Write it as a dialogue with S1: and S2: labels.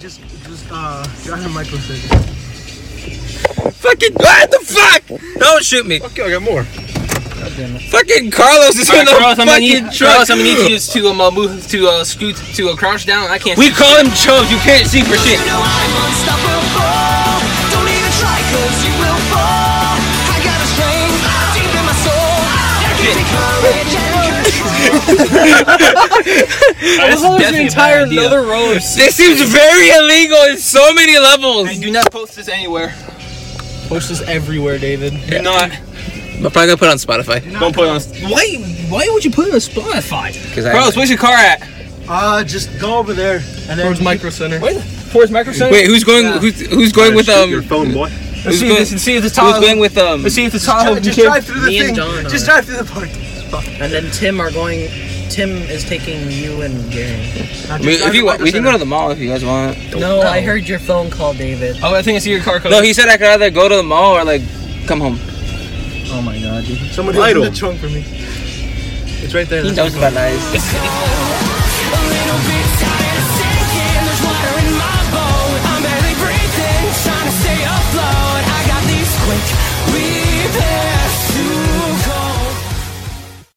S1: Just, just, uh, John and Michael said.
S2: Fucking what the fuck? Don't shoot me.
S1: Okay, I got more.
S2: Fucking Carlos is in
S3: Alright,
S2: the
S3: Carlos,
S2: fucking
S3: I'm gonna need
S2: truck.
S3: Carlos, I'm gonna need you to um uh, move to uh scoot to uh, crouch down. I can't.
S2: We call him Chubs. You can't see for shit.
S4: know I'm unstoppable. Don't even try, cause you will fall. I got a strength deep in my soul. That gives me courage and control.
S3: this is
S2: definitely
S3: definitely
S2: a
S3: entire
S2: bad idea.
S3: another row. of-
S2: This seems very illegal in so many levels.
S3: Hey, do not post this anywhere.
S1: Post this everywhere, David.
S3: Do not.
S2: I'm probably gonna put it on Spotify.
S3: Don't put it on.
S1: Why, why would you put it on Spotify?
S2: Cause I
S3: Carlos, where's your car at?
S1: Uh, just go over there and then. Towards Micro Center.
S3: Forest Micro Center.
S2: wait, who's going?
S3: Yeah.
S2: Who's, who's going with um?
S5: your phone, boy.
S3: Let's
S2: Who's
S3: see,
S2: going-
S3: let's see if the
S2: Who's
S3: Tahoe.
S2: going with um?
S3: Let's see if the Tahoe.
S1: Just
S3: can-
S1: drive through the
S6: Oh, Me and
S1: thing.
S6: John
S1: Just
S6: are-
S1: drive through the park.
S6: And then Tim are going. Tim is taking you and Gary.
S1: Now,
S2: I
S1: just
S2: mean,
S1: drive
S2: if you
S1: to
S2: want,
S1: Micro
S2: we can
S1: Center.
S2: go to the mall if you guys want.
S6: No, I heard your phone call, David.
S3: Oh, I think I see your car. Carlos.
S2: No, he said I could either go to the mall or like come home.
S6: Oh my god, dude.
S1: Somebody
S5: Lidl.
S1: open the trunk for me. It's right there.
S2: He
S1: that's
S2: knows
S1: what
S2: about lies.
S3: It's- it's-